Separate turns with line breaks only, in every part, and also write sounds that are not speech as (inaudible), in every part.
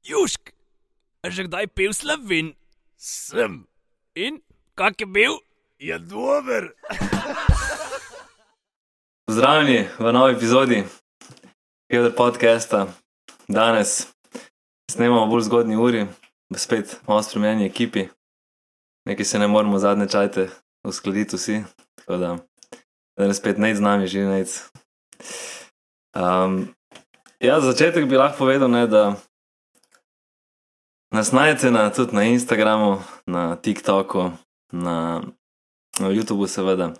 Južk, a že kdaj pil slovin?
Sem,
In kak je bil?
je dober.
Pozdravljeni v novi epizodi Pedro podcasta. Danes snemamo v bolj zgodni uri, spet malo spremenjeni ekipi. Nekaj se ne moremo zadnje čajte uskladiti vsi. tako Da, danes spet ne z nami, že ne. Um, ja, za začetek bi lahko povedal, ne, da nas najdete na, tudi na Instagramu, na TikToku, na, na YouTubu, seveda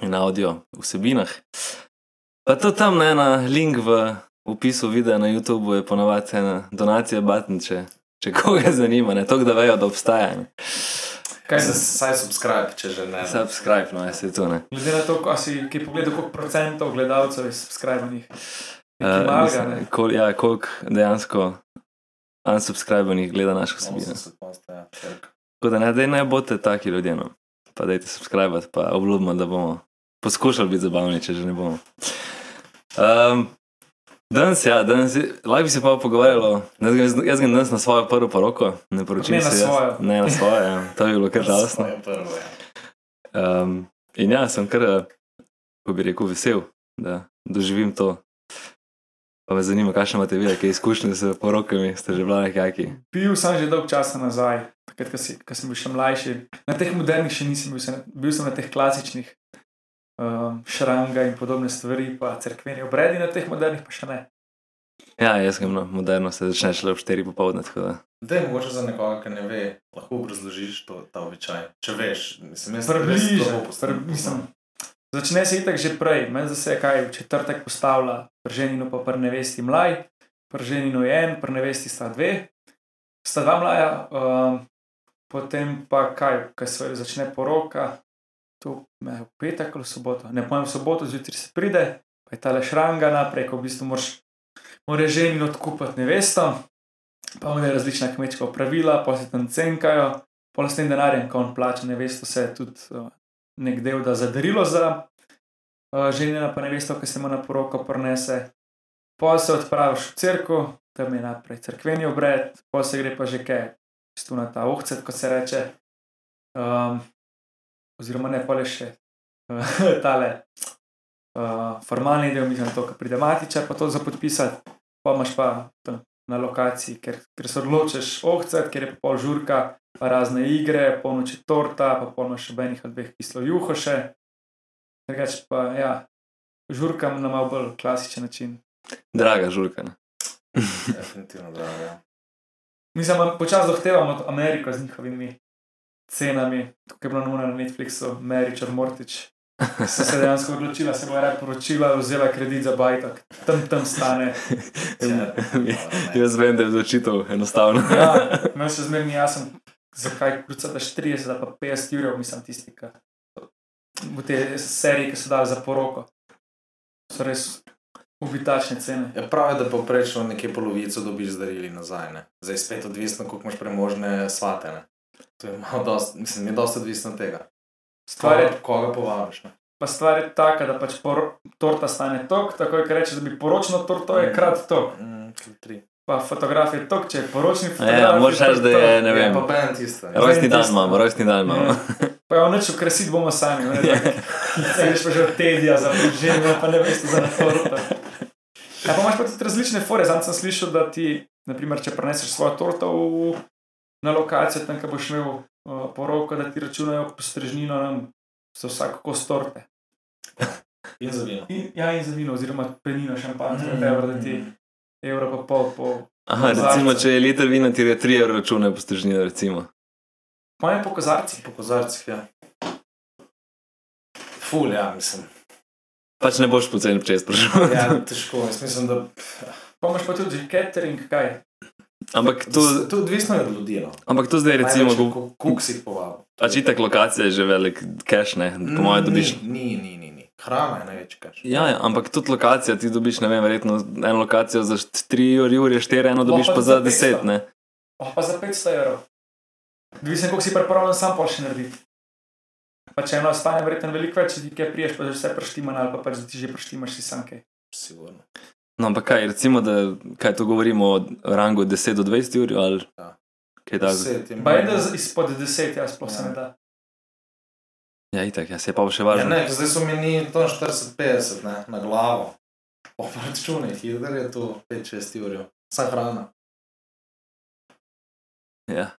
in audio vsebinah. Pa to tam ne, na link v opisu videa na YouTubu je ponovadi ena donacija Batn, če, če koga zanima, ne to, da vejo, da obstaja. Ne.
Kaj se saj subscribe, če že ne.
Subscribe, no, se to ne.
Glede na to, ko si ki pogledal, koliko procentov gledalcev je subskrbanih.
Eh,
Nekaj malega,
mislim,
ne.
kol, ja, koliko dejansko unsubscribenih gleda našo vsebino. Tako da ne, dej ne bote taki ljudje, no. pa dajte subskrbati, pa obljubimo, da bomo poskušali biti zabavni, če že ne bomo. Um, danes, ja, danes, je- lahko bi se pa pogovarjalo, jaz grem- jaz grem danes na svojo prvo poroko, ne poročim
Ne
se
na
jaz.
svojo.
Ne na svojo, ja. to bi
(laughs)
bilo kar žalostno.
prvo. Ja.
Um, in ja, sem kar, eh, kako bi rekel, vesel, da doživim to. Pa me zanima, kakšne imate vi, kakšne izkušnje s porokami, ste že bila nekaki.
Bil sem že dolg časa nazaj, takrat, ko si- ko sem bil še mlajši. Na teh modernih še nisem bil, sem, bil sem na teh klasičnih. Um, šranga in podobne stvari, pa crkveni obredi na teh modernih, pa še ne.
Ja, jaz grem na moderno, se začne šele ob 4 popovdne, tako da.
Zdaj, mogoče za nekoga, ki ne ve, lahko obrazložiš to, ta običaj. Če veš, mislim, jaz
Približno,
res slabo
pri-
poznam.
mislim, Začne se itak že prej, meni se je kaj v četrtek postavila, prženino pa pri nevesti mlaj, prženino je en, pri nevesti sta dve, sta dva mlaja, um, potem pa kaj, kaj se začne poroka, to je v petek ali v soboto, ne pojem, v soboto zjutraj se pride, pa je ta le šranga naprej, ko v bistvu moraš, moraš ženino odkupiti nevesto, pa mu je različna kmečka pravila, pa se tam cenkajo, pa s tem denarjem, ko on plača nevesto, se tudi uh, nek del da za darilo za uh, ženjena, pa nevesto, ki se mu na poroko prenese. Pa se odpraviš v cerkev, tam je najprej cerkveni obred, pa se gre pa že kaj, tu na ta ohcet, kot se reče. Um, oziroma ne pole še eh, (laughs) tale. Uh, formalni del, mislim, to, ki pride matičar, pa to za podpisati, pa imaš pa tam na lokaciji, ker, ker se odločiš ohcet, ker je pol žurka, pa razne igre, polnoči torta, pa polnoči še ob enih ali dveh kislo juho še. Drugač pa, ja, žurkam na malo bolj klasičen način.
Draga žurka. ne.
Definitivno drago. ja.
Mislim, da počasi zahtevamo od Ameriko z njihovimi cenami. Tukaj je bilo nujno na Netflixu, Meričar Mortič. (laughs) So se dejansko odločila, se bo raje poročila, vzela kredit za bajtak, tam tam stane.
(laughs) Jaz vem, da je odločitev enostavna.
(laughs) Ja, meni še zmeraj ni jasno, zakaj kruca daš 30 ali pa 50 jurjev, mislim, tisti, ki v te serije, ki so dali za poroko. So res ubitačne cene.
Ja, prav je, da povprečno nekje polovico dobiš zdarili nazaj. Ne? Zdaj je spet odvisno, koliko imaš premožne svate. Ne? To je malo, dost, mislim, je dosta odvisno od tega.
Stvar je,
Koga- koga povabiš. Ne?
pa stvar je taka, da pač por, torta stane tok, takoj, ko rečeš, da bi poročno torto je krat tok.
Mm, krat tri.
Pa fotograf je tok, če je poročni fotograf.
Ja, moraš
tok
reči, da
tok.
je, ne vem,
Ja, pa ben tisto. ne.
rojstni dan imamo, rojstni dan imamo. Ja.
Ja.
(laughs)
Pa je onoč ukrasiti bomo sami. ne, tako. Se greš pa že od tedija za življenje, pa ne veš, za torto. Ja, pa imaš pa tudi različne fore. Sam sem slišal, da ti, naprimer, če preneseš svojo torto v, na lokacijo, tam, kjer boš imel uh, poroko, da ti računajo postrežnino nam za vsak kos torte.
In za vino.
In, ja, in za vino, oziroma penino, šampanjsko, whatever, da ti evro pa pol po.
Aha, recimo, če je liter vina, ti je 3 evra račune postežnina, recimo.
Moje po kozarcih.
Po kozarcih, ja. Ful, ja, mislim.
Pač ne boš poceni čez prišel.
Ja, težko, jaz mislim, da
Pa imaš pa tudi catering, kaj.
Ampak to,
to je odvisno je od ljudi. No.
ampak to zdaj recimo, go-
kako si jih povabil.
pač itak lokacija je že velik cash, ne, po mojem dobiš.
Mm, Ni, ni, ni, ni. Hrana je največji kaš.
Ja, ja, ampak tudi lokacija, ti dobiš, ne vem, verjetno eno lokacijo za 3 ure, ure 4, eno dobiš
pa
pa
za
za 10,
petsto.
ne.
Oh, pa za 500 evrov. Odvisno, koliko si pripravljen sam pa še narediti. Pa če eno stane, verjetno veliko več, če ti kaj priješ, pa že vse preštimano ali pa pač da ti že preštimaš si sam kaj.
Sigurno.
No, ampak kaj, recimo, da kaj to govorimo o rangu 10 do 20 ur ali
Ja.
kaj takega.
Deset in
Pa je,
manj.
da z- izpod 10, jaz sploh se
Ja.
ne da.
Ja, itak, ja, se je pa bo še
Ja,
važno.
ne, zdaj so meni to 40-50 ne, na glavo. Po računih, hitro je to 5-6 ur, vsa hrana. (laughs)
Ja,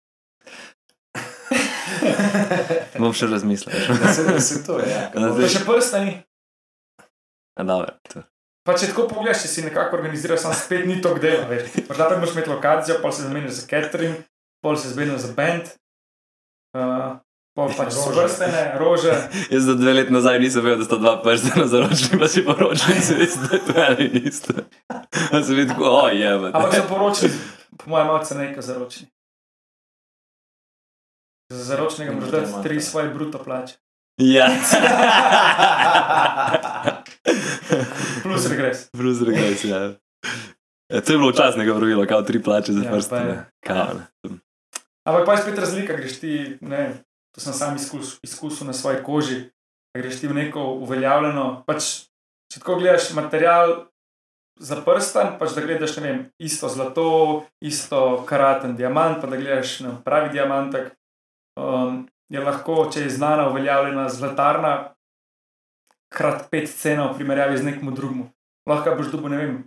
bom še razmislil. (laughs)
Ja, se, se to je. Ja.
Ja,
Pa
zdaj-
še prstani.
A Dober, to.
Pa če tako pogledaš, če si nekako organiziraš, sam spet ni to delo, veš. Morda pa moraš imeti lokacijo, pol se zmeniš za catering, pol se zmeniš za band, uh, pol pač so
Rože.
vrstene, rože.
Jaz za dve leti nazaj nisem vedel, da sta dva prstena zaročni, pa si poročni, se veste, da je to ali niste. Pa sem videl, tako, o je,
Ampak so
pa.
poročni, po mojem, malce nekaj zaročni. Za zaročnega moraš dati tri svoje bruto plače,
Ja.
(laughs) plus regres.
Bruce Regres, ja. ja. To je bilo včasnega pravila, kao tri plače za
Ja, pa je.
prstene. Kao, ne.
Ampak pa je spet razlika, greš ti, ne, vem, to sem sam izkus, izkusil na svoji koži, da greš ti v neko uveljavljeno. Pač, če tako gledaš material za prstan, pač da gledaš ne vem, isto zlato, isto karaten diamant, pa da gledaš na pravi diamantek. Um, je lahko, če je znana, uveljavljena zlatarna, krat pet cena v primerjavi z nekim drugim. Lahko boš dobil, ne vem,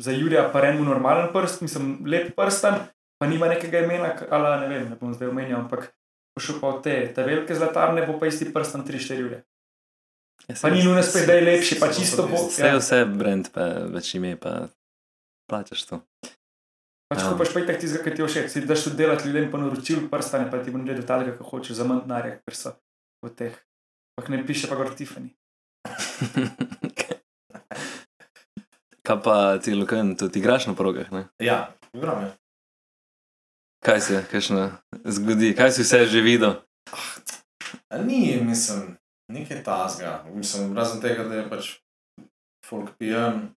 za Jurija pa en normalen prst, mislim, lep prstan, pa nima nekega imena, ali ne vem, ne bom zdaj omenjal, ampak bo šel pa v te, te velike zlatarne, bo pa isti prstan 3-4 ure.
Ja, saj
Pa ni nujno spet, da je lepši, pa
Saj-
čisto bo.
saj-
Vse je
Ja,
vse brand, pa več ime, pa plačaš to.
pač
ja.
kupaš pa itak tizga, ki ti je všeč, si daš oddelati ljudem po naročilu prstane, pa ti bo naredil talega, kako hočeš, za manj denarja, ker so v teh. Ampak ne piše pa gor Tiffany.
Kaj pa ti, Lukan, tudi igraš na progah, ne?
ja, igram je.
Kaj se, kakšna zgodi, kaj si vse že videl?
A Ni, mislim, nekaj tazga. Mislim, razen tega, da je pač folk pijan.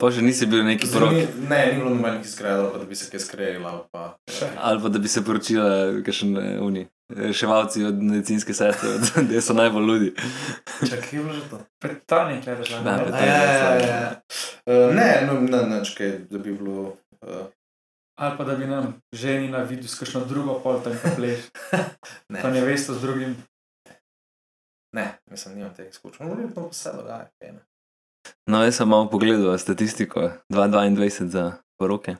Pa že nisi bil neki
Zdaj
prog.
Ni, ne, ni bilo nobenih izgredov, pa da bi se kaj skrejila. ali Pa,
Ali pa da bi se poročila, kakšen eh, uni. Reševalci od medicinske sestre, (laughs) da so najbolj ludi.
Čakaj, kje je bilo že to?
Petanik je
Ja,
razlagal.
pet-
A, ja, ja, ja. Eh, Ne, no, ne, nič kaj, da bi bilo. eh,
Ali pa da bi nam ženi na vidu s kakšno drugo pol tam pleš,
Ne,
pa ne veste z drugim.
ne, mislim, nimam teh izkušenj. No, verjetno pa se dogaja, kaj ne.
No, jaz sem malo pogledal statistiko 2022 za poroke.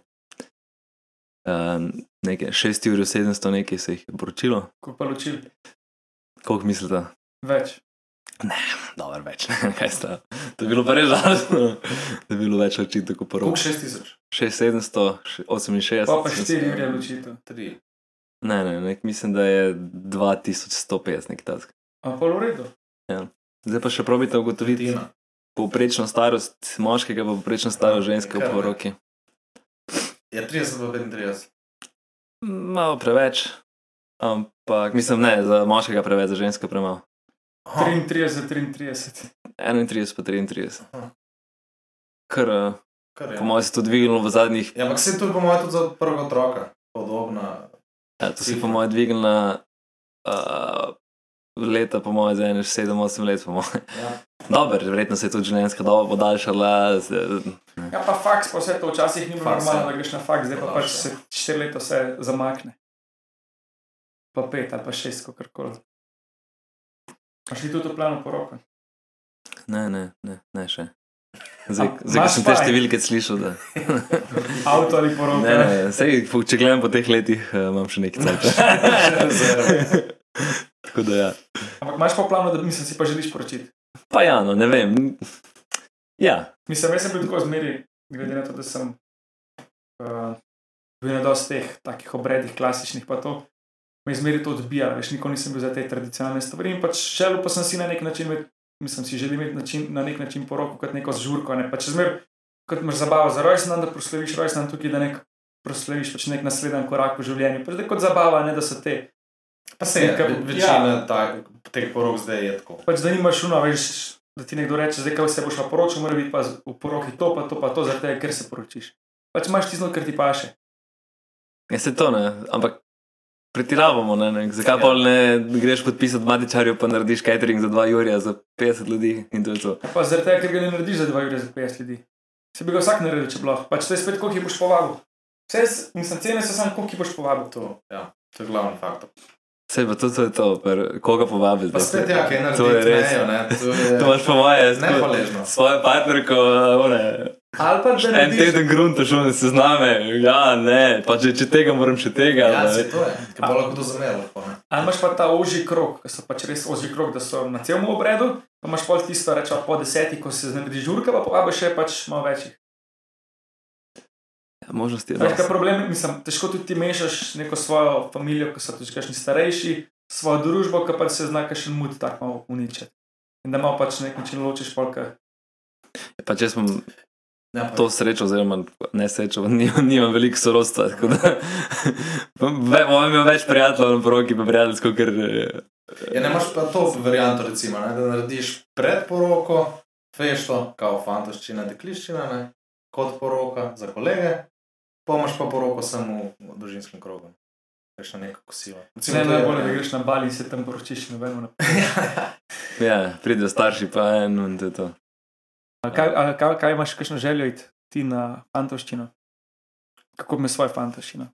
Um, nekaj 6.700 nekaj se jih je poročilo,
Ko pa ločil,
koliko mislite?
več.
Dobro, več, (laughs) kaj sta. To je bilo pa res žalostno, da je bilo več očitov kot porok.
Koliko 6000?
6.700,
Pa pa
68.
štiri ure ločitev.
3.
Ne, ne, nek, mislim, da je 2150 nek task.
Ampak v redu.
Zdaj pa še probite ugotoviti
Tina.
povprečno starost moškega, pa povprečno starost ženske v
Kar ne.
poroki.
Ja, 30 do 35.
Malo preveč, ampak mislim, ne, za moškega preveč, za žensko premalo.
Aha.
33, 33.
31 pa 33.
Aha.
Kar, eh,
Kar je.
po mojem, se je to dvignilo v zadnjih,
Ja, ampak se to je po mojem tudi za prvega otroka. Podobna.
ja, to se je po
Sigurno.
mojem dvignilo na, uh, leta, po mojem, za 7-8 let, po mojem.
Ja.
Dober, verjetno se je tudi življenjska doba podaljšala, z-
Ja, pa faks, pa vse to včasih ni bilo
Faks,
normalno,
ja.
da greš na faks, zdaj pa
Laž,
pač
ja.
se štiri leta vse zamakne. Pa pet ali pa šest, kako koli. Pa še tudi v planu poroka.
ne, ne, ne, ne
(laughs)
še. Zdaj,
A,
zdaj ko
imaš
sem te
fajn?
številke slišal, da.
Avto ali poroka.
Ne, ne, sej, če gledam po teh letih, eh, imam še nekaj cajt.
(laughs)
Tako da ja.
Ampak imaš pa v planu, da mislim, si pa želiš poročiti.
Pa ja, no, ne vem. Ja,
Mislim, jaz sem bil tako zmeri, glede na to, da sem uh, bil na dosti teh takih obredih, klasičnih pa to. Me je zmeri to odbijalo, veš, nikoli nisem bil za te tradicionalne stvari in pač želel pa sem si na nek način imeti, mislim, si želim imeti način, na nek način poroko kot neko žurko, ne pač zmer, kot imaš zabavo za rojsten dan, da proslaviš rojsten dan tukaj, da nek proslaviš pač nek nasleden korak v življenju, pač da je kot zabava, ne da so te
Pa se je,
Neka-
Ja, ve- večina ta, teh porok zdaj je tako.
pač da nimaš šuno, veš, da ti nekdo reče, zdaj kaj se boš pa poročil, mora biti pa z- v poroki to, pa to, pa to, zaradi tega, ker se poročiš. Pač imaš tisto, kar ti paše.
ja se to ne, ampak pretiravamo, ne, ne. Zakaj pa ne greš podpisati matičarju, pa narediš catering za 2 jurja, za 50 ljudi in to je to.
Ja, Pa zaradi tega, ker ga ne narediš za 2 ure za 50 ljudi. Se bi ga vsak naredil, če bilo. Pač to je spet, koliko jih boš povabil. Vse, s- mislim, cene so samo, koliko jih boš povabil.
To, ja, to je glavni faktor.
Sej pa to, to je to, per, koga povabiti.
Pa spet, ja, kaj
To je
narediš,
res.
mejo, ne, to
(laughs)
je
To imaš po moje, jaz tako-
nehvaležno.
Svojo partnerko, one.
Ali pa da
En
narediš,
teden grunta šel na sezname, ja, ne, pa če, če tega moram še tega.
Ja,
ne.
se to je. Kaj bo lahko to zamenjalo? lahko, ne.
ali imaš pa ta ožji krok, ki so pač res ožji krok, da so na celem obredu, pa imaš pol tisto, rečemo po desetih, ko se naredi žurka, pa povabiš še pač malo večjih.
ja, Možnosti je
Veš, kaj
dosti.
je problem, mislim, težko tudi ti mešaš neko svojo družino, ki so tudi kakšni starejši, svojo družbo, ki pa se zna kakšen mud tako malo uničiti. In da malo pač na nek način ločiš polka.
Pa če sem
Ja, pa-
to srečo, oziroma nesrečo, (laughs) nimam, nimam veliko sorodstva. tako da (laughs) Ve- Bom imel več prijateljev na poroki, pa prijateljsko, ker eh,
Ja, ne imaš pa to varianto, recimo, ne, da narediš pred poroko fešto, kao fantoščina, dekliščina, ne, kot poroka za kolege, pa imaš pa poroko samo v družinskem krogu. Kakšna neka kosila.
Ne, najbolje,
ja.
da greš na bal in se tam poročiš, nobeno ne.
ja, pridejo starši, pa eno in to je to.
A Kaj, a kaj, kaj imaš, kakšno željo iti ti na fantoščino? Kako me svoje fantoščino?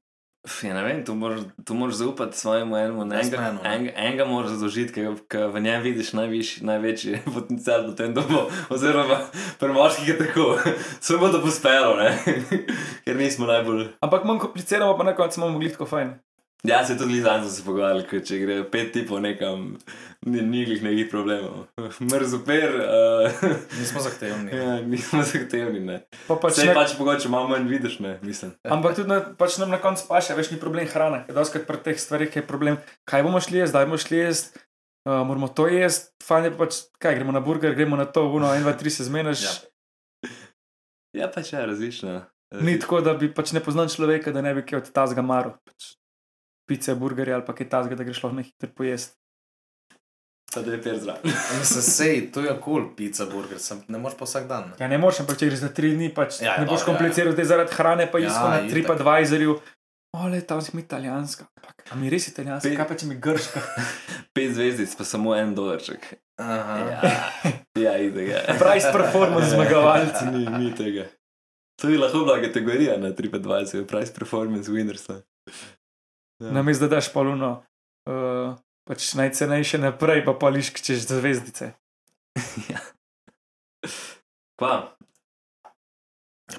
F, Ja, ne vem, tu moraš, tu moraš zaupati svojemu enemu, ne enega,
no.
Jasmenu, ne.
enega, enega moraš zadolžiti, ker- ker v njem vidiš najviš, največji (laughs) potencial, potem da bo, oziroma pri moških je tako, (laughs) samo da bo uspelo, ne? (laughs) ker nismo najbolj.
Ampak manj kompliciramo, pa na koncu imamo mogli tako fajn.
Ja, se tudi zanj se pogovarjali, ker če gre pet tipov nekam, ni nikih nekih problemov. (laughs) Mrzoper, uh,
Nismo zahtevni.
(laughs) ja, nismo zahtevni, ne.
Pa pač
Vse
ne,
pač mogoče malo manj vidiš, ne, mislim.
Ampak tudi na, pač nam na koncu paše, več ni problem hrana. Doskrat pri teh stvarih je problem, kaj bomo šli jesti, zdaj bomo šli jesti, uh, moramo to jesti, fajn je pa pač, kaj gremo na burger, gremo na to, uno, en, dva, tri se zmeniš.
Ja.
Ja, pač je različno.
eh,
Ni tako, da bi pač ne poznal človeka, da ne bi kaj od tazga maro. Pač, pice, burgerje ali pa kaj tazga, da greš lahko na hitro pojesti.
Pa da je per zrak.
Mislim, sej, to je kul, cool, pica, burger, sem, ne moreš pa vsak dan. Ne?
Ja, ne moreš, ampak če greš za tri dni, pač
Ja,
ja,
ja,
ne boš
dobro, ja, ja.
kompliciral, zdaj zaradi hrane pa
Ja,
isko ja, na tri
itak.
pa dva izerju. Ole, tam smo italijanska. Ampak, a mi res italijanska?
Pe-
Kaj pa če mi grška?
(laughs) Pet zvezdic, pa samo en dolarček.
Aha. Ja.
ja idem. Ja.
Price performance zmagovalci.
Ni, ni tega. To bi lahko bila kategorija na 320, price performance winners. ne.
Na mestu, da daš poluno, uh, pač najcenejše naprej, pa poliš češ zvezdice.
Kva?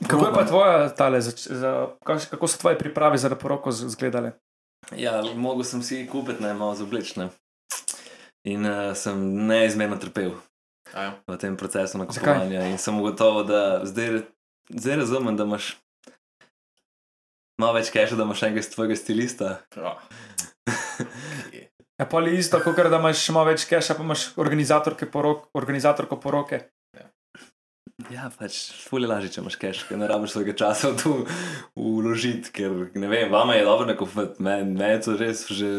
Kako je pa tvoja tale, za, za, kaš- kako so tvoje priprave za poroko z- izgledale?
Ja, mogel sem si kupiti naj malo zoblečne. In uh, sem neizmerno trpel
Ja.
v tem procesu nakupovanja. In sem ugotovil, da zdaj, zdaj razumem, da imaš malo več keša, da imaš enega svojega stilista.
Ja.
Ja, poli isto, kot da imaš še malo več keša, pa imaš organizatorke porok, organizatorko poroke.
Ja, pač fulje lažje, če imaš cache, ker ne rabiš svojega časa v to uložiti, ker ne vem, vama je dobro nakupovati, meni men je to res že.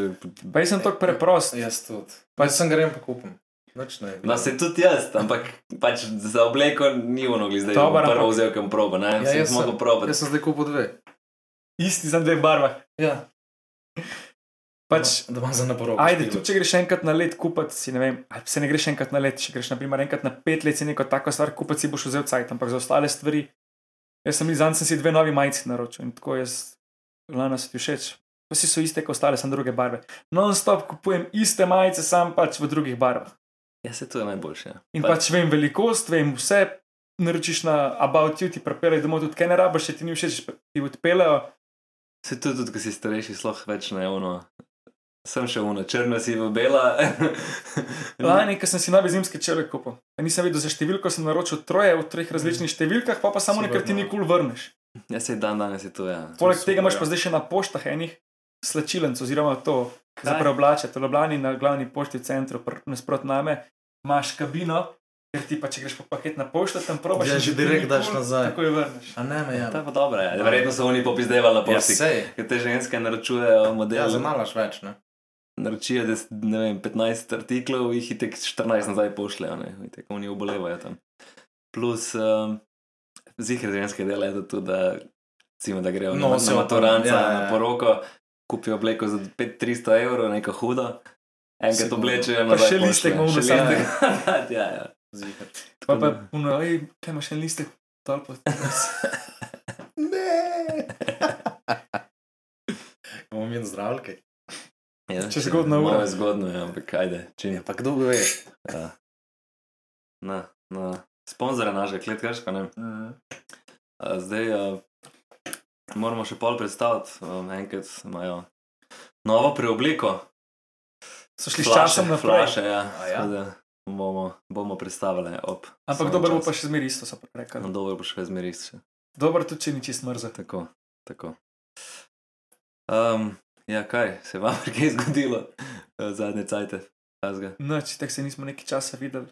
Pa jaz sem tako preprost.
Jaz tudi. Pa sem grem pa kupim. Noč ne.
No, se tudi jaz, ampak pač za obleko ni ono, glej, zdaj
Dobro,
Dobar, prvo
ampak-
vzel, kam proba, ne, ja, sem mogel probati.
Jaz sem zdaj kupil dve.
Isti za dve barve.
Ja.
Pač,
da imam za naporoko.
ajde, tudi če greš enkrat na let kupiti, si ne vem, ali se ne greš enkrat na let, če greš naprimer enkrat na pet let, si neko tako stvar kupiti, si boš vzel cajt, ampak za ostale stvari. Jaz sem izan, sem si dve novi majici naročil in tako jaz, lana so ti všeč. Vsi so iste, kot ostale, sem druge barve. Non-stop kupujem iste majice, sam pač v drugih barvah.
Ja, se to je najboljše. ja.
In pač vem velikost, vem vse, naročiš na About You, ti pripeljejo domov, tudi kaj ne rabiš, če ti ni všeč, ti odpeljejo.
Se tudi, tudi ko si starejši, sloh več ne ono. Sem še ono, črna si v bela.
Lani, ko sem si nove zimske čele kupil, pa nisem vedel za številko, sem naročil troje v treh različnih številkah, pa pa samo
Sigurno.
nekaj ti nikoli vrneš.
Ja, se dan danes je to, ja.
Poleg
super,
tega imaš
ja.
pa zdaj še na poštah enih slačilenc, oziroma to,
Kaj?
za preoblačje. V Ljubljani na glavni pošti v centru, pr- nasprot name, imaš kabino, ker ti pa če greš po paket na pošto, tam probaš
Ja,
in
že
ti
direkt
nikoli
daš nazaj.
Tako je vrneš.
A ne me, ja.
Ta pa dobra, ja. Verjetno so oni popizdevali na
Ja,
posih.
sej.
Ker te ženske naročujejo modele.
Ja, zamalaš več, ne.
naročijo des, ne vem, 15 artiklov, jih itek 14 nazaj pošljejo, ne, itek oni obolevajo tam. Plus, um, zihre ženske delajo to tudi, da, recimo, da grejo no, na, na
Nosijo tam,
maturanca,
ja,
ja,
ja, ja.
na poroko, kupijo obleko za 500-300 evrov, neko hudo, enkrat
Sigurno.
oblečejo
Pa
na
še listek mu
še
vnesemo.
listek. (laughs) ja, ja.
Zihar.
Pa
Tako
pa,
da-
uno, ej, kaj imaš en listek?
(laughs)
Tolpo.
Ne. (laughs) Bomo mi zdravljenki.
Ja,
Če zgodna ura.
Malo je zgodno, ja, ampak ajde, če ne.
Ja, pa kdo ve?
Ja. Na, na sponzora našega kletkaška, ne.
Eh,
A Zdaj a, moramo še pol predstaviti, um, enkrat imajo novo preobliko.
So šli s
Flaše,
časom na flash.
flaše. Ja,
A ja?
tako da bomo, bomo predstavili ob.
Ampak dober bo pa še zmeri isto, so pa rekli.
No, dobro bo še zmeri še.
Dober tudi, če ni čist mrzel.
Tako, tako. Um, ja, kaj se je vam je (laughs) kaj zgodilo eh, zadnje cajte? Tazga.
Noč, tako se nismo nekaj časa videli,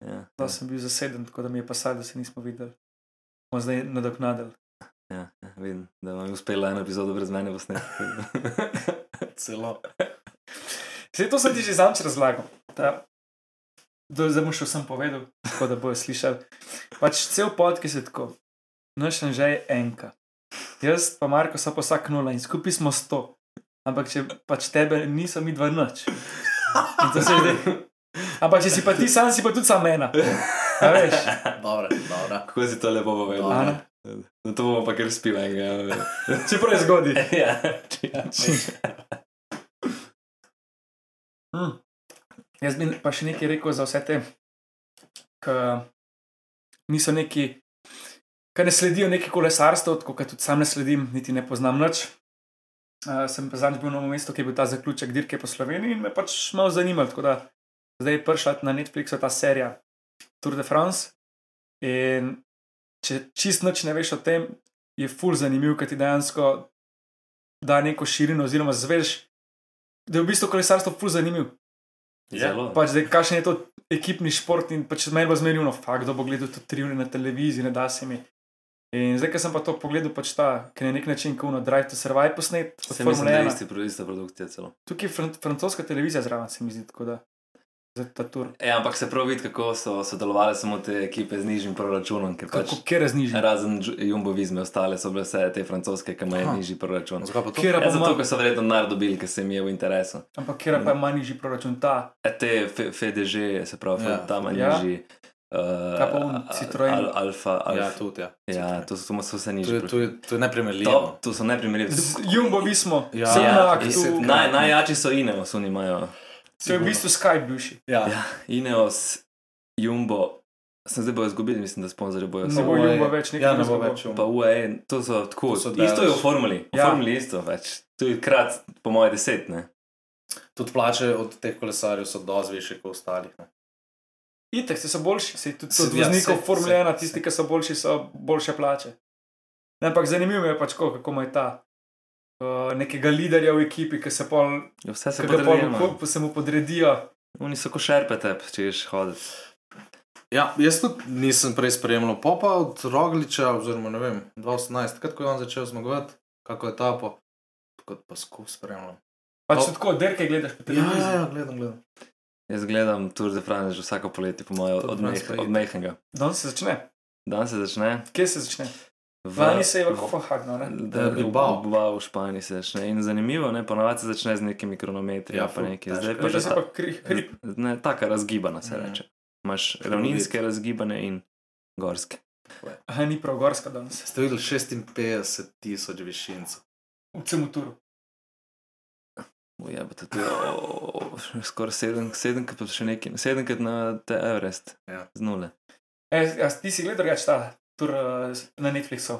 Ja,
da sem bil zaseden, tako da mi je pasal, da se nismo videli. Smo zdaj nadoknadili.
ja, ja, vidim, da vam je uspela ena epizoda brez mene posneti. (laughs)
Celo.
Vse to sem ti že zanč razlagal. Ta, do, zdaj bom še vsem povedal, tako da bojo slišali. Pač cel podcast je tako. Naš anže je enka. Jaz pa Marko so pa vsak nula in skupaj smo sto. Ampak če pač tebe niso mi dva noč. Ampak če si pa ti sam, si pa tudi sam ena. A veš?
(laughs) Dobro, dobro.
Kako si to lepo povedal?
Ana.
No, to bomo pa kar spila enega. ja.
Če prej zgodi.
(laughs) ja, (laughs) ja.
Mm. Jaz bi pa še nekaj rekel za vse te, ki niso neki, ki ne sledijo neki kolesarstvo, tako kot tudi sam ne sledim, niti ne poznam nič. Uh, sem pa zadnjič bil na novem mestu, ki je bil ta zaključek dirke po Sloveniji in me pač malo zanimalo. Tako da zdaj je prišla na Netflixu ta serija Tour de France. In če čist nič ne veš o tem, je ful zanimiv, ker ti dejansko da neko širino, oziroma zveš, da je v bistvu kolesarstvo ful zanimivo.
Zelo.
Pač zdaj, kakšen je to ekipni šport in pač meni bo zmerjuno, fakt, da bo gledal to tri ure na televiziji, ne da se mi. In zdaj, ker sem pa to pogledal, pač ta, ker je na nek način kuno Drive to Survive posnet, od
Se mi zdi, da
Formule
je
1.
isti pro- ista produkcija celo.
Tukaj je fran francoska televizija zraven, se mi zdi, tako da. Za ta tur.
E, ampak se prav vidi, kako so sodelovali samo te ekipe z nižjim proračunom, ker pač
Kako kje raznižen?
razen Dž- Jumbo Vizme, ostale so bile vse te francoske, ki imajo
Aha.
nižji proračun.
Zakaj pa to?
Kjer
Ja,
pa
zato,
ima,
ker so verjetno denar dobili, ker se jim je v interesu.
ampak kjer pa ima nižji proračun ta.
E, te fe- FDŽ, se pravi,
Ja.
ja. tam je
Ja.
nižji. Uh,
Kaj pa on, Citroen?
Al, alfa,
Ja,
alfa.
tudi, ja.
Ja, ja to, so, to so vse
To
nižji.
je, to je, to je neprimerljivo.
to, to so neprimerljivi.
Jumbo vi smo,
Ja.
vse na
Ja,
aktu.
desetkrat.
Naj, najjači so Ineos, oni imajo.
To je v bistvu Skype bivši.
Ja.
Ja, Ineos, Jumbo, sem zdaj bojo izgubili, mislim, da sponzorje bojo.
Ne
samo-
bo
UAE.
Jumbo več, nekaj
ja, ne bo
drugega bo.
več.
Pa UAE, to so tako.
To so
isto je v
daleč.
formuli, v
Ja.
ja. formuli isto, več. To je krat, po mojem, deset. Ne?
Tudi plače od teh kolesarjev so dosti više kot ostalih. ne.
Itek, se so boljši, se tudi
Se-
od
ja,
voznikov
se-
Formule
se-
1, tisti, ki so boljši, so boljše plače. Ne, ampak zanimivo je pač, kako, kako ima ta uh, nekega liderja v ekipi, ki se pol,
Ja, Vse se
ki ga pol,
podredi.
ko, se mu podredijo.
Oni so košarpete, če ješ hoditi.
Ja, jaz tudi nisem prej spremljal, pa pa od Rogliča, oziroma ne vem, 2018, takrat ko je on začel zmagovati, kako je tapo, kot pa skup spremljal.
Pač
Pa-
oh. tako, derke gledaš po
Ja,
televiziji.
ja, ja, gledam, gledam.
Jaz gledam Tour de France že vsako poletje, po mojem,
Tour
od,
de France
meh,
pa je
od
itak.
mehkega.
Danes No, se začne.
Danes se začne.
Kje se začne?
v-
Lani se je v Kopenhagnu. ne?
Da,
v
v
Bilbao.
Bilbao, v Španiji se začne. In zanimivo, ne, ponavadi se začne z nekimi kronometri,
Ja,
ja, pa
ful,
nekaj.
težko
Zdaj pa
Zdaj
že
se
ta,
pa kri, hrib.
ne, taka razgibana se
Mhm.
reče. Imaš ravninske razgibane in gorske.
Aha, ni prav gorska danes.
Ste videli 56 tisoč višincev.
V celem turu.
Ujebate, to je o, skoraj sedem, sedemkrat pa še nekaj, sedemkrat na te Everest.
Ja.
Z nule.
E, a ti si gledal, drugače ta tur uh, na Netflixu.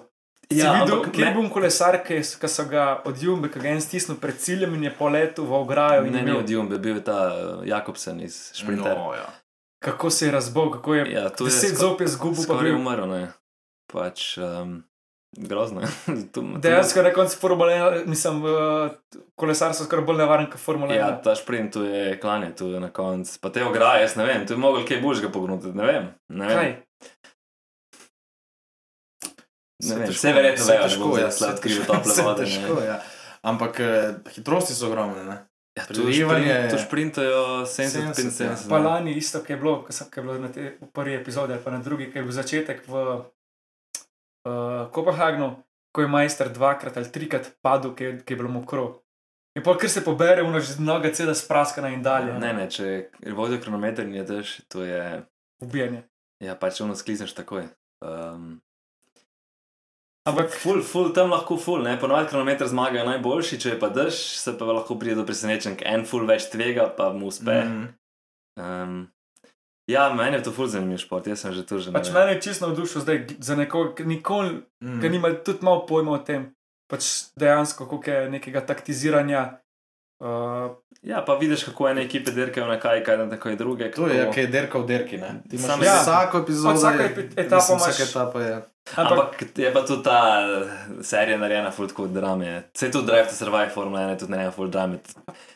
Ja,
Ja,
videl,
ampak
kje je
ne-
bil kolesar, ki s- ki so ga od Jumbe, ki ga je en stisnil pred ciljem in je poletel v ograjo. in
Ne,
je
ne,
bil-
od Jumbe, bil je ta eh, Jakobsen iz Šprintera.
No, ja.
Kako se je razbol, kako je.
Ja, to je
Deset
skor-
zob je zgubil, pa
Skoraj
bil.
umrl, ne. Pač um, grozno. (laughs) to, to-
Dejansko na koncu Formule 1, mislim, eh, kolesar so skoraj bolj nevaren kot Formula 1.
Ja, ta šprint tu je klanje, tu je na koncu. Pa te ograje, jaz ne vem, tu je mogel kaj božga pognuti, ne vem. Ne vem.
Kaj?
Ne vem,
težko,
vse verjetno
se
vejo, da
težko,
bom zdaj
ja,
slab
se
kriv
težko,
tople
se
vode. ne.
Težko, ja. Ampak eh, hitrosti so ogromne. Ne?
Ja, tu
Prelivanje
šprint-
je-
tu šprintajo
70,
70-75.
Pa lani isto, ki je bilo, ki so- ki je bilo na te, v prvi epizodi ali pa na drugi, ki je bil začetek v uh, Kopenhagnu, ko je majster dvakrat ali trikrat padel, ki je, ki je bilo mokro. In pa kar se pobere, unož z noga ceda spraskana in dalje.
Ne, ne, če vodijo kronometer in je dež, to je.
Ubijanje.
Ja, pač ono sklizneš takoj. Um,
Ampak
Ful, ful, tam lahko ful, ne, ponovadi kronometer zmagajo najboljši, če je pa drž, se pa lahko pride do presenečenk, en ful več tvega, pa mu uspe. Mm.
Mm.
Um, ja, meni je to ful zanimiv šport, jaz sem že tu že. ne
pač
vem.
mene je čisto navdušil zdaj gl- za nekoga, ki nikoli,
Mm.
mm. ki nima tudi malo pojma o tem, pač dejansko, koliko je nekega taktiziranja. Uh,
Ja, pa vidiš, kako ene ekipe dirkajo na kaj, kaj na tako je druge.
To
Kako...
je, ki je derka v derki. ne. Ti
Samo
imaš
ja.
ja. vsako epizodo.
Vsaka
je-
epi- etapa
mislim,
imaš-
Vsaka etapa je.
ampak, ampak
Ampak je pa tudi ta eh, serija narejena ful kot drame. Se je tudi Drive to Survive Formula 1 je tudi narejena ful drame.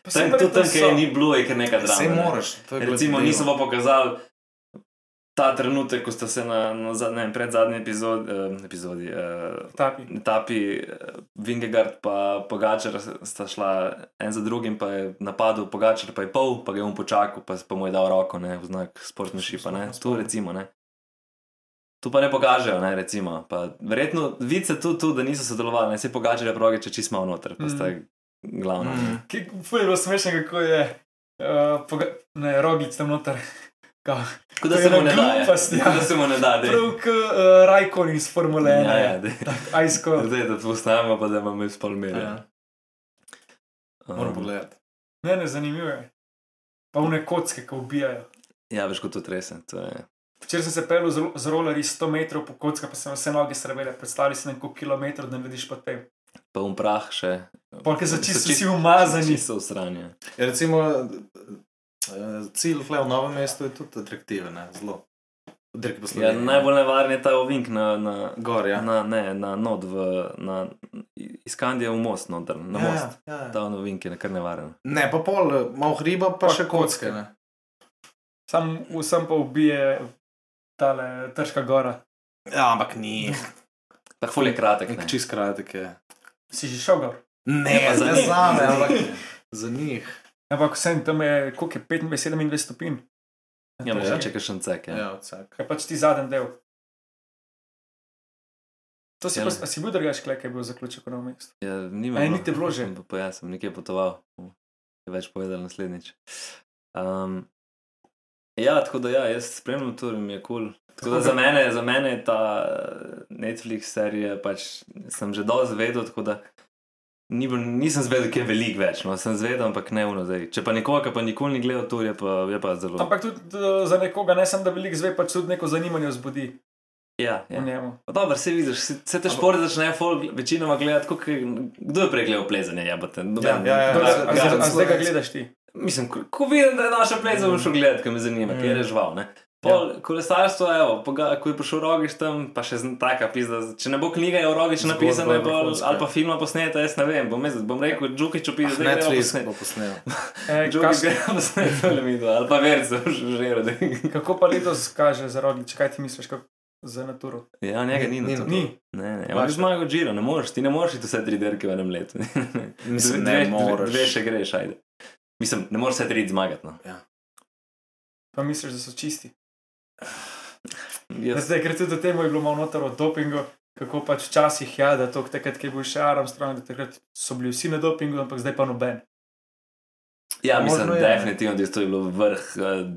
Tam, tudi tam, kjer je ni bilo, je kar neka drama.
Vse
ne.
moraš. to je
Recimo,
gledljivo.
niso pa pokazali ta trenutek, ko sta se na, na zadnjem, predzadnji epizod, eh, epizodi, eh,
tapi.
etapi, eh, Vingegard in Pogačar sta šla en za drugim, pa je napadel Pogačar, pa je pol, pa ga je on počakal, pa, pa mu je dal roko, ne, v znak sportmanšipa. Ne. To recimo, ne. To pa ne pokažejo, ne, recimo. Pa, verjetno vidi se tudi, tu, da niso sodelovali, ne se pogačare proge, če čisto malo noter, pa sta
Mm.
glavna.
Mm.
Ki- Ful je bilo smešno, kako je uh, poga- ne, roglic tam noter. Kao,
Kot da
To
se
je
mu ne
ena
da.
glupost, ja.
Kot da se mu ne da, da
Prav kot uh, Rajkon iz Formule 1. Ja, ja.
daj.
Ajsko.
(laughs) Zdaj, da postavimo, pa da imamo iz polmerja.
Ja,
Um,
Moram pogledati.
Ne, ne, zanimivo je. Pa vne kocke, ki ubijajo.
Ja, veš, kot to trese. To je.
Včeraj sem se pel z, ro- z rollerji 100 metrov po kocka, pa sem vse noge srbele. Predstavljaj si neko kilometr, da narediš pa te.
Pa um prah še.
Polke so čisto
So čist-
vsi umazani.
Niso usranje.
Ja, recimo, eh, cilj tle v novem mestu je tudi atraktiven, ne, zelo. Dirki
Ja,
poslušajo.
najbolj nevaren je ta ovink na, na,
gor,
ja.
ja.
na, ne, na not, v, na, iskand je v most, noter, na
ja,
most.
Ja, ja.
Ta ovink je kar nevaren.
Ne, pa pol, eh, malo hriba, pa,
Pa
pa še
kocke.
kocke. ne.
Sam vsem pa ubije tale trška gora.
Ja, ampak ni.
Tako ful je kratek. ne.
Nek čist kratek je.
Si že šel gor.
Ne,
pa za
za
njih.
zame,
(laughs)
ampak za njih.
Ampak vsem tam je, koliko je 25-27 stopinj.
Ja,
To je-
mogoče kakšen cek. Ja.
Ja, vsak.
Kaj pač ti zadnji del. To si,
Ja.
pa, a si bil drugač, klej, kaj je bil zaključek v novem mestu.
Ja, nimam,
Ej,
no.
ni te bilo že?
Sem Pa, pa jaz sem nekje potoval, je več povedal naslednjič. Um, ja, tako da ja, jaz spremljam to in mi je kul. Cool. Tako da
Tako
za
da-
mene, za mene je ta eh, Netflix serija, pač sem že dosti vedel, tako da ni, bil- nisem zvedel, kje je veliko več. No, sem zvedel, ampak ne uno zdaj. Če pa nekoga, ki pa nikoli ni gledal, to je pa, je pa zelo.
Ampak tudi eh, za nekoga, ne samo da veliko zve, pač tudi neko zanimanje vzbudi
ja,
v
ja.
njemu.
Pa Dobro, se vidiš, se, se te špore začnejo folk večinoma gledati, kot kdo je prej gledal plezanje, jabate.
Ja, ja, ja.
Kdo- a- a- a- A
ja,
zdaj ga
slovenc.
gledaš ti.
Mislim, ko, ko vidim, da je naša pleza, bom šel gledat, ker me zanima, mm.
Mm.
kje je žval. ne. Pol, ja. Kolesarstvo, evo, poga, ko je prišel Rogiš tam, pa še zn- taka pizda. Če ne bo knjiga, je Rogiš
Zgodba
napisana, je bolj,
vrhunska. Ah,
ali pa filma posneta, jaz ne vem. Bom, jaz, bom rekel, Džukič opisal, da je
Netflix bo posnel.
E,
Džukič
kaš,
gre (laughs) posnet, ali mi dva, ali pa verce, (laughs) že rode.
kako pa letos kaže za roglič, kaj ti misliš kak, za naturo?
Ja, njega ni, ni
Ni na
na to.
Ni.
Ne, ne,
Vaša.
ampak zmagal Giro, ne moreš, ti ne moreš iti vse tri dirke v enem letu.
Mislim,
Dve-
ne
dve-
moreš.
Dve še greš, ajde. Mislim, ne moreš vse tri zmagati. No.
Pa misliš, da so čisti? Ja,
Jaz
zdaj gre tudi do temu, je bilo malo noter o dopingu, kako pač včasih ja, da to takrat, ko je bil še Armstrong, da takrat so bili vsi na dopingu, ampak zdaj pa noben.
Ja,
Možno
mislim,
je, ne.
definitivno tisto je bilo vrh, eh,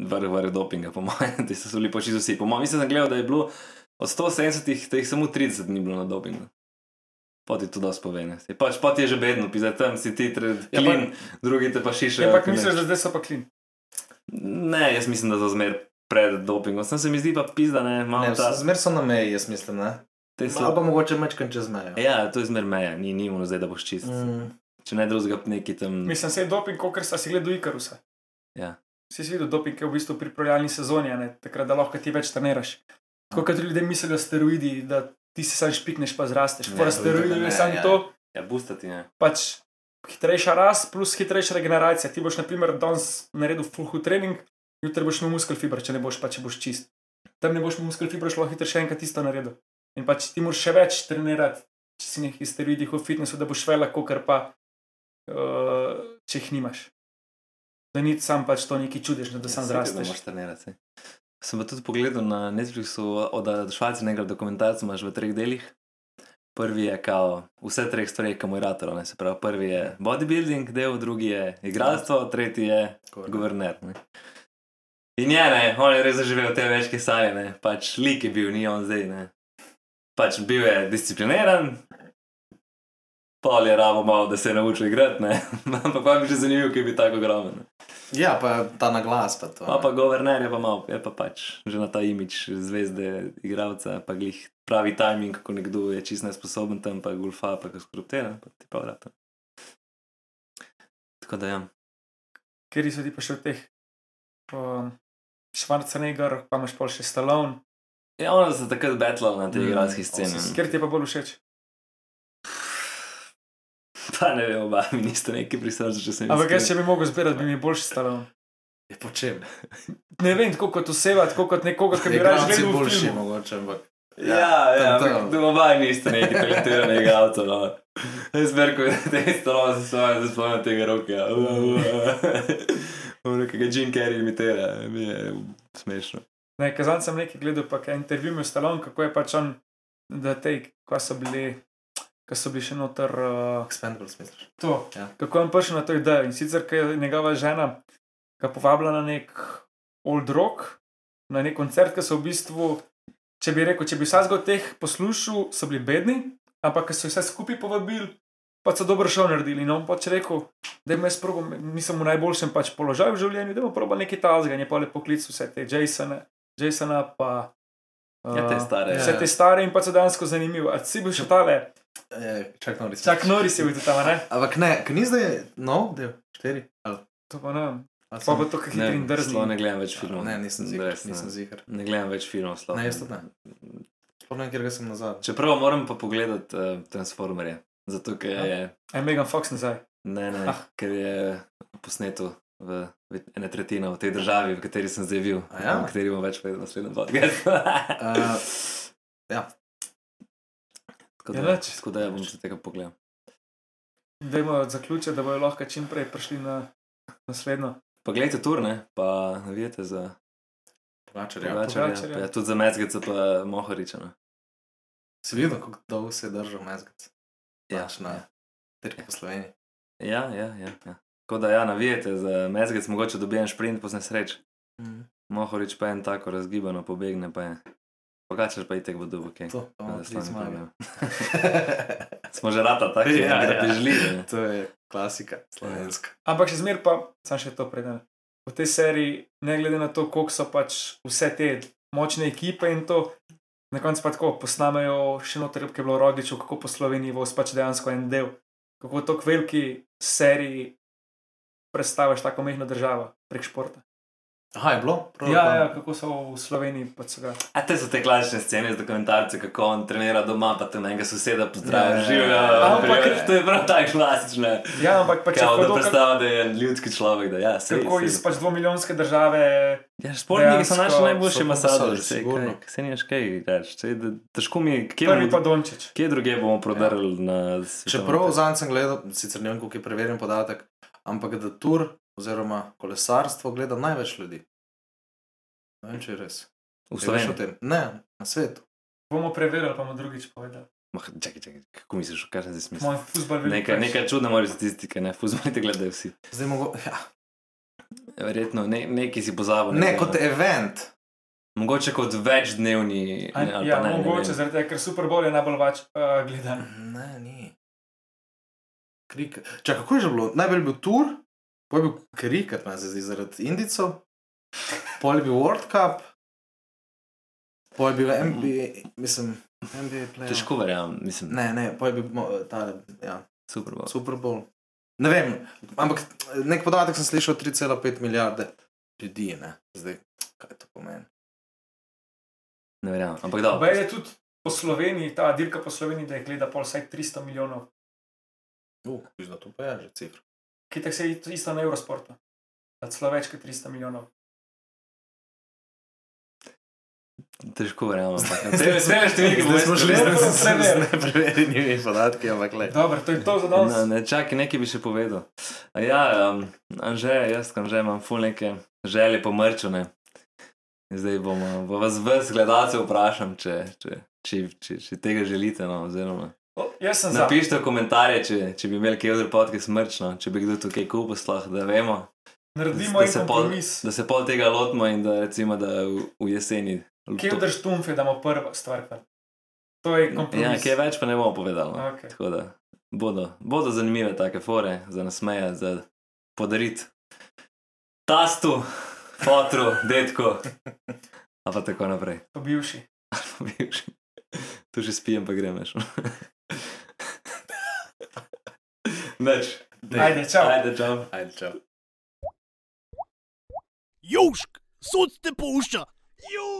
vrh, vrh dopinga, po (laughs) mojem, ti so bili počisto vsi. Po mojem, mislim, da sem gledal, da je bilo od 170, teh samo 30 ni bilo na dopingu. Poti to dosti povene. Pač poti je že bedno, pisa tam si ti, tre,
Ja, pa-
klin, ja, drugi te pa šiše.
Ja, ampak
kaj ne.
misliš, da zdaj so pa klin.
Ne, jaz mislim, da so zmer pred dopingom. Sem se mi zdi pa pizda, ne,
Ne,
malo ta.
Zmer so na meji, jaz mislim, ne.
Te
Ali pa
slabo.
mogoče mečkan čez mejo.
Ja, to je zmer meja, ni, ni ono zdaj, da boš čist. Mm.
Mm.
Če ne drugega, neki tam.
Mislim, se je doping, kot sta si gledal Ikarusa.
Hm. Ja.
Si si videl doping, ki je v bistvu pri pripravljalni sezoni, a ne, takrat da lahko ti več treniraš. Tako kot ljudje mislijo steroidi, da ti se sam špikneš, pa zrasteš.
Ne,
Fora
seveda
steroidov
ne,
je samo
ja.
to,
Ja, bustati, ne.
pač hitrejša rast plus hitrejša regeneracija. Ti boš, na primer, danes naredil full hud trening, jutri boš imel muskel fiber, če ne boš, pa če boš čist. Tam ne boš imel muskel fiber, šlo hitro še enkrat isto naredil. In pač ti moraš še več trenirati, če si nekaj steroidih v fitnesu, da boš vela, kot pa uh, če jih nimaš. Da ni sam pač to neki čudežno, da sam
Ja, saj ti
zrasteš.
moraš trenirati. saj. Sem pa tudi pogledal na Netflixu od Švajcarskega dokumentarca, imaš v treh delih. Prvi je kao, vse treh stvari, ki mu je ratalo. ne, Se pravi, prvi je bodybuilding, del, drugi je igralstvo, tretji je guverner. Ne. In je, ne, on je res zaživel te večke sanje, ne, pač lik je bil, ni on zdaj, ne. pač bil je discipliniran, pol je rabo malo, da se je naučil igrati, ne. (laughs) ampak pa bi že zanimivo, ki bi tako ogromen. ne.
Ja, pa ta naglas. Pa to,
Pa pa guverner je pa malo, je pa pač že na ta imič zvezde, igralca, pa glih pravi timing, kako nekdo je čist nesposoben tam, pa gulfa, pa kako skoruptera, pa ti pa vrata. Tako da ja.
Kjer so ti pa še od teh um, Schwarzenegger, pa imaš pol še Stallone,
Ja, ona se takrat betla na tej
Mm,
igralski sceni.
osemdeset.
ne.
kjer ti je pa bolj všeč.
Pa ne vem, oba mi niste neki prisrčni, če sem
Ampak jaz, če bi mogel zbirati, bi mi boljši Stallone.
Je po čem?
Ne vem, tako kot oseba, tako kot nekoga, ki bi raje
Igralci
gledal v
boljši no.
filmu.
mogoče, ampak.
Ja, ja,
tam, tam.
ampak oba niste neki talentirani igralci. No. Jaz verko, da te stalo se svoje zaspomnim tega roka. ja. (laughs) Nekega Jim Carrey imitira, mi je smešno.
Ne, kazan sem nekaj gledal, pa je intervju imel Stallone, kako je pač on, da te, ko so bili, ko so bili še noter. Uh,
Expendables misliš.
to,
Ja.
ja. kako je on prišel na to idejo. In sicer, ker je njegova žena ga povabila na nek old rock, na nek koncert, ki so v bistvu, če bi rekel, če bi vsaj zgolj teh poslušal, so bili bedni, ampak ker so jih vse skupaj povabili, pa so dobro šel naredili. In on pač rekel, da jim jaz probo, nisem v najboljšem pač položaju v življenju, da jim probo nekaj tazga, ne pa le poklic vse te Jasona, Jasona pa. eh,
Ja, te stare.
Vse te stare in pa so dejansko zanimivi. A si bil še tale,
E,
Eh, Čak Norris.
čak nori si bil tam, a ne?
Ampak ne, ki ni zdaj nov del, štiri. Ali,
To pa ne vem.
ali
Pa
sem-
bo to, kar
Ne,
hitro in
sploh
drzno.
ne gledam več filmov.
Ne, nisem zihar.
Res ne.
Nisem zihar.
Ne gledam več filmov. Sploh.
Ne, jaz tudi ne. Spomnim, kjer ga sem nazad.
Čeprav moram pa pogledati uh, Transformerje. Zato, ker
Ja.
je,
Aj Megan Fox nazaj.
ne, ne,
Ah.
ker je posneto v, v ena tretjina v tej državi, v kateri sem zdaj bil.
A ja?
O kateri bom več povedal v naslednjem podkastu.
Uh, ja.
Tako
Ja,
da,
nič.
tako da ja bom se tega pogledal.
Dajmo zaključiti, da bojo lahko čim prej prišli na naslednjo.
Pa gledajte turne, pa navijete za
Pogačar, ja.
drugače. Ja,
Pogačarja.
pa ja, tudi za Mezgeca, pa Mohoriča. ne.
Si videl, kako dolgo se je držal mezgac?
Ja,
Pač na Dirki po Sloveniji.
Ja, ja, ja. ja. Tako da ja, navijete za Mezgec, mogoče dobi en šprint, pa se nesreč. Mm. Mohorič pa en tako razgibano pobegne, pa je. Pogačaš pa itek v dubok.
To, to imamo tri zmage.
Smo že rata, tako
Ja,
da
ja.
ja, ja.
(laughs) To je klasika, slovenska.
Ampak še zmer pa, sam še to preden. V tej seriji, ne glede na to, koliko so pač vse te močne ekipe in to, na koncu pa tako posnamejo še eno treb, ki je bilo Roglič, kako po Sloveniji voz pač dejansko en del. Kako to k veliki seriji predstaviš tako mehno državo prek športa.
Aha, je bilo? Prav,
Ja,
pa-
ja, kako so v Sloveniji pač so ga.
A te so te klasične scene z dokumentarci, kako on trenira doma, pa te nekaj soseda pozdravi,
Ja.
živijo. Ja,
Ampak-
to je prav tako klasično.
Ja, ampak pač
Kao, da
hudo, kako-
predstavlja, da je ljudski človek, da ja, se
Kako iz pač dvomilijonske države
Ja, športniki so
Dejansko
naši
so
najboljši masažerji,
pomasažerji,
se
sigurno.
kaj, se nimaš kaj reči. saj da- Težko mi je, kje,
Prvi pa
bomo,
Dončić.
kje druge bomo prodrli ja. na svet.
Čeprav zadnji sem gledal, sicer ne vem, koliko je preverjen podatek, ampak da tur oziroma kolesarstvo gleda največ ljudi. Ne vem, če je res.
v
Je veš o
Sloveniji.
tem? Ne, na svetu.
Bomo preverili, pa bomo drugič povedali.
Mah, Čakaj, čakaj, kako misliš, kaj se zdaj smisli?
Moj futbol veliko.
Nekaj,
več.
nekaj čudne morajo statistike, ne, fuzbolite gledajo vsi.
Zdaj mogo... ja.
Verjetno ne, neki si pozabil.
Ne,
nekaj,
kot event.
Mogoče kot večdnevni.
A,
Ne, ali
ja,
pa ne, ne,
mogoče
vem.
zaradi tega, ker Super Bowl je najbolj vač, uh, gledan.
Ne, ni. Krik. Čak, kako je že bilo? Najprej je bil tur, potem je bil kriket, meni se zdi, zaradi indicov, potem je bil World Cup, potem je bil NBA, mislim, NBA player.
Težko verjamem, mislim, ne.
Ne, ne, potem je bil mo, ta, ja,
super. bo.
Super Bowl. Ne vem, ampak nek podatek sem slišal 3,5 milijarde ljudi, ne. Zdaj, kaj to pomeni?
Ne verjamem, ampak da.
Bej je tudi po Sloveniji, ta dirka po Sloveniji, da je gleda pol vsaj 300 milijonov.
Uh, mislim, da to pa je že cifra.
Kitek se je isto na Eurosportu. Da celo več kot 300 milijonov.
Težko verjamem.
(laughs)
Zdaj-
Zdaj številke bomo
šli-
izpustili.
s- s- s
nepreverjenimi podatki, ampak le.
Dobro, to je to za
Ne,
danes.
ne, čakaj, nekaj bi še povedal. A Ja, um, anže, jaz kam že imam ful neke želje pomrčene. Zdaj bomo, bo vas vse gledalce vprašam, če, če, če, če, če tega želite. No, oziroma,
O, jaz sem za.
napišite v komentarje, če, če bi imeli kje odr podke smrčno, no, če bi kdo tukaj kupil sploh, da vemo,
Naredimo
da,
en
se pol,
kompromis.
da se pol tega lotimo in da recimo da v, v jeseni.
Kje vdrž tumfe, da bomo prva stvar. ven? To je
Ja,
kompromis.
kaj več pa ne bomo povedali. no.
Ok.
Tako da bodo, bodo zanimive take fore za nasmeje, za podariti tastu, fotru, detku. A pa tako naprej. (laughs)
To bivši.
Bivši. tu že spijem, pa (laughs) gremeš. Neč.
Ajde, čau.
Ajde, čau.
Ajde, čau.
Južk, sod te pušča. Južk.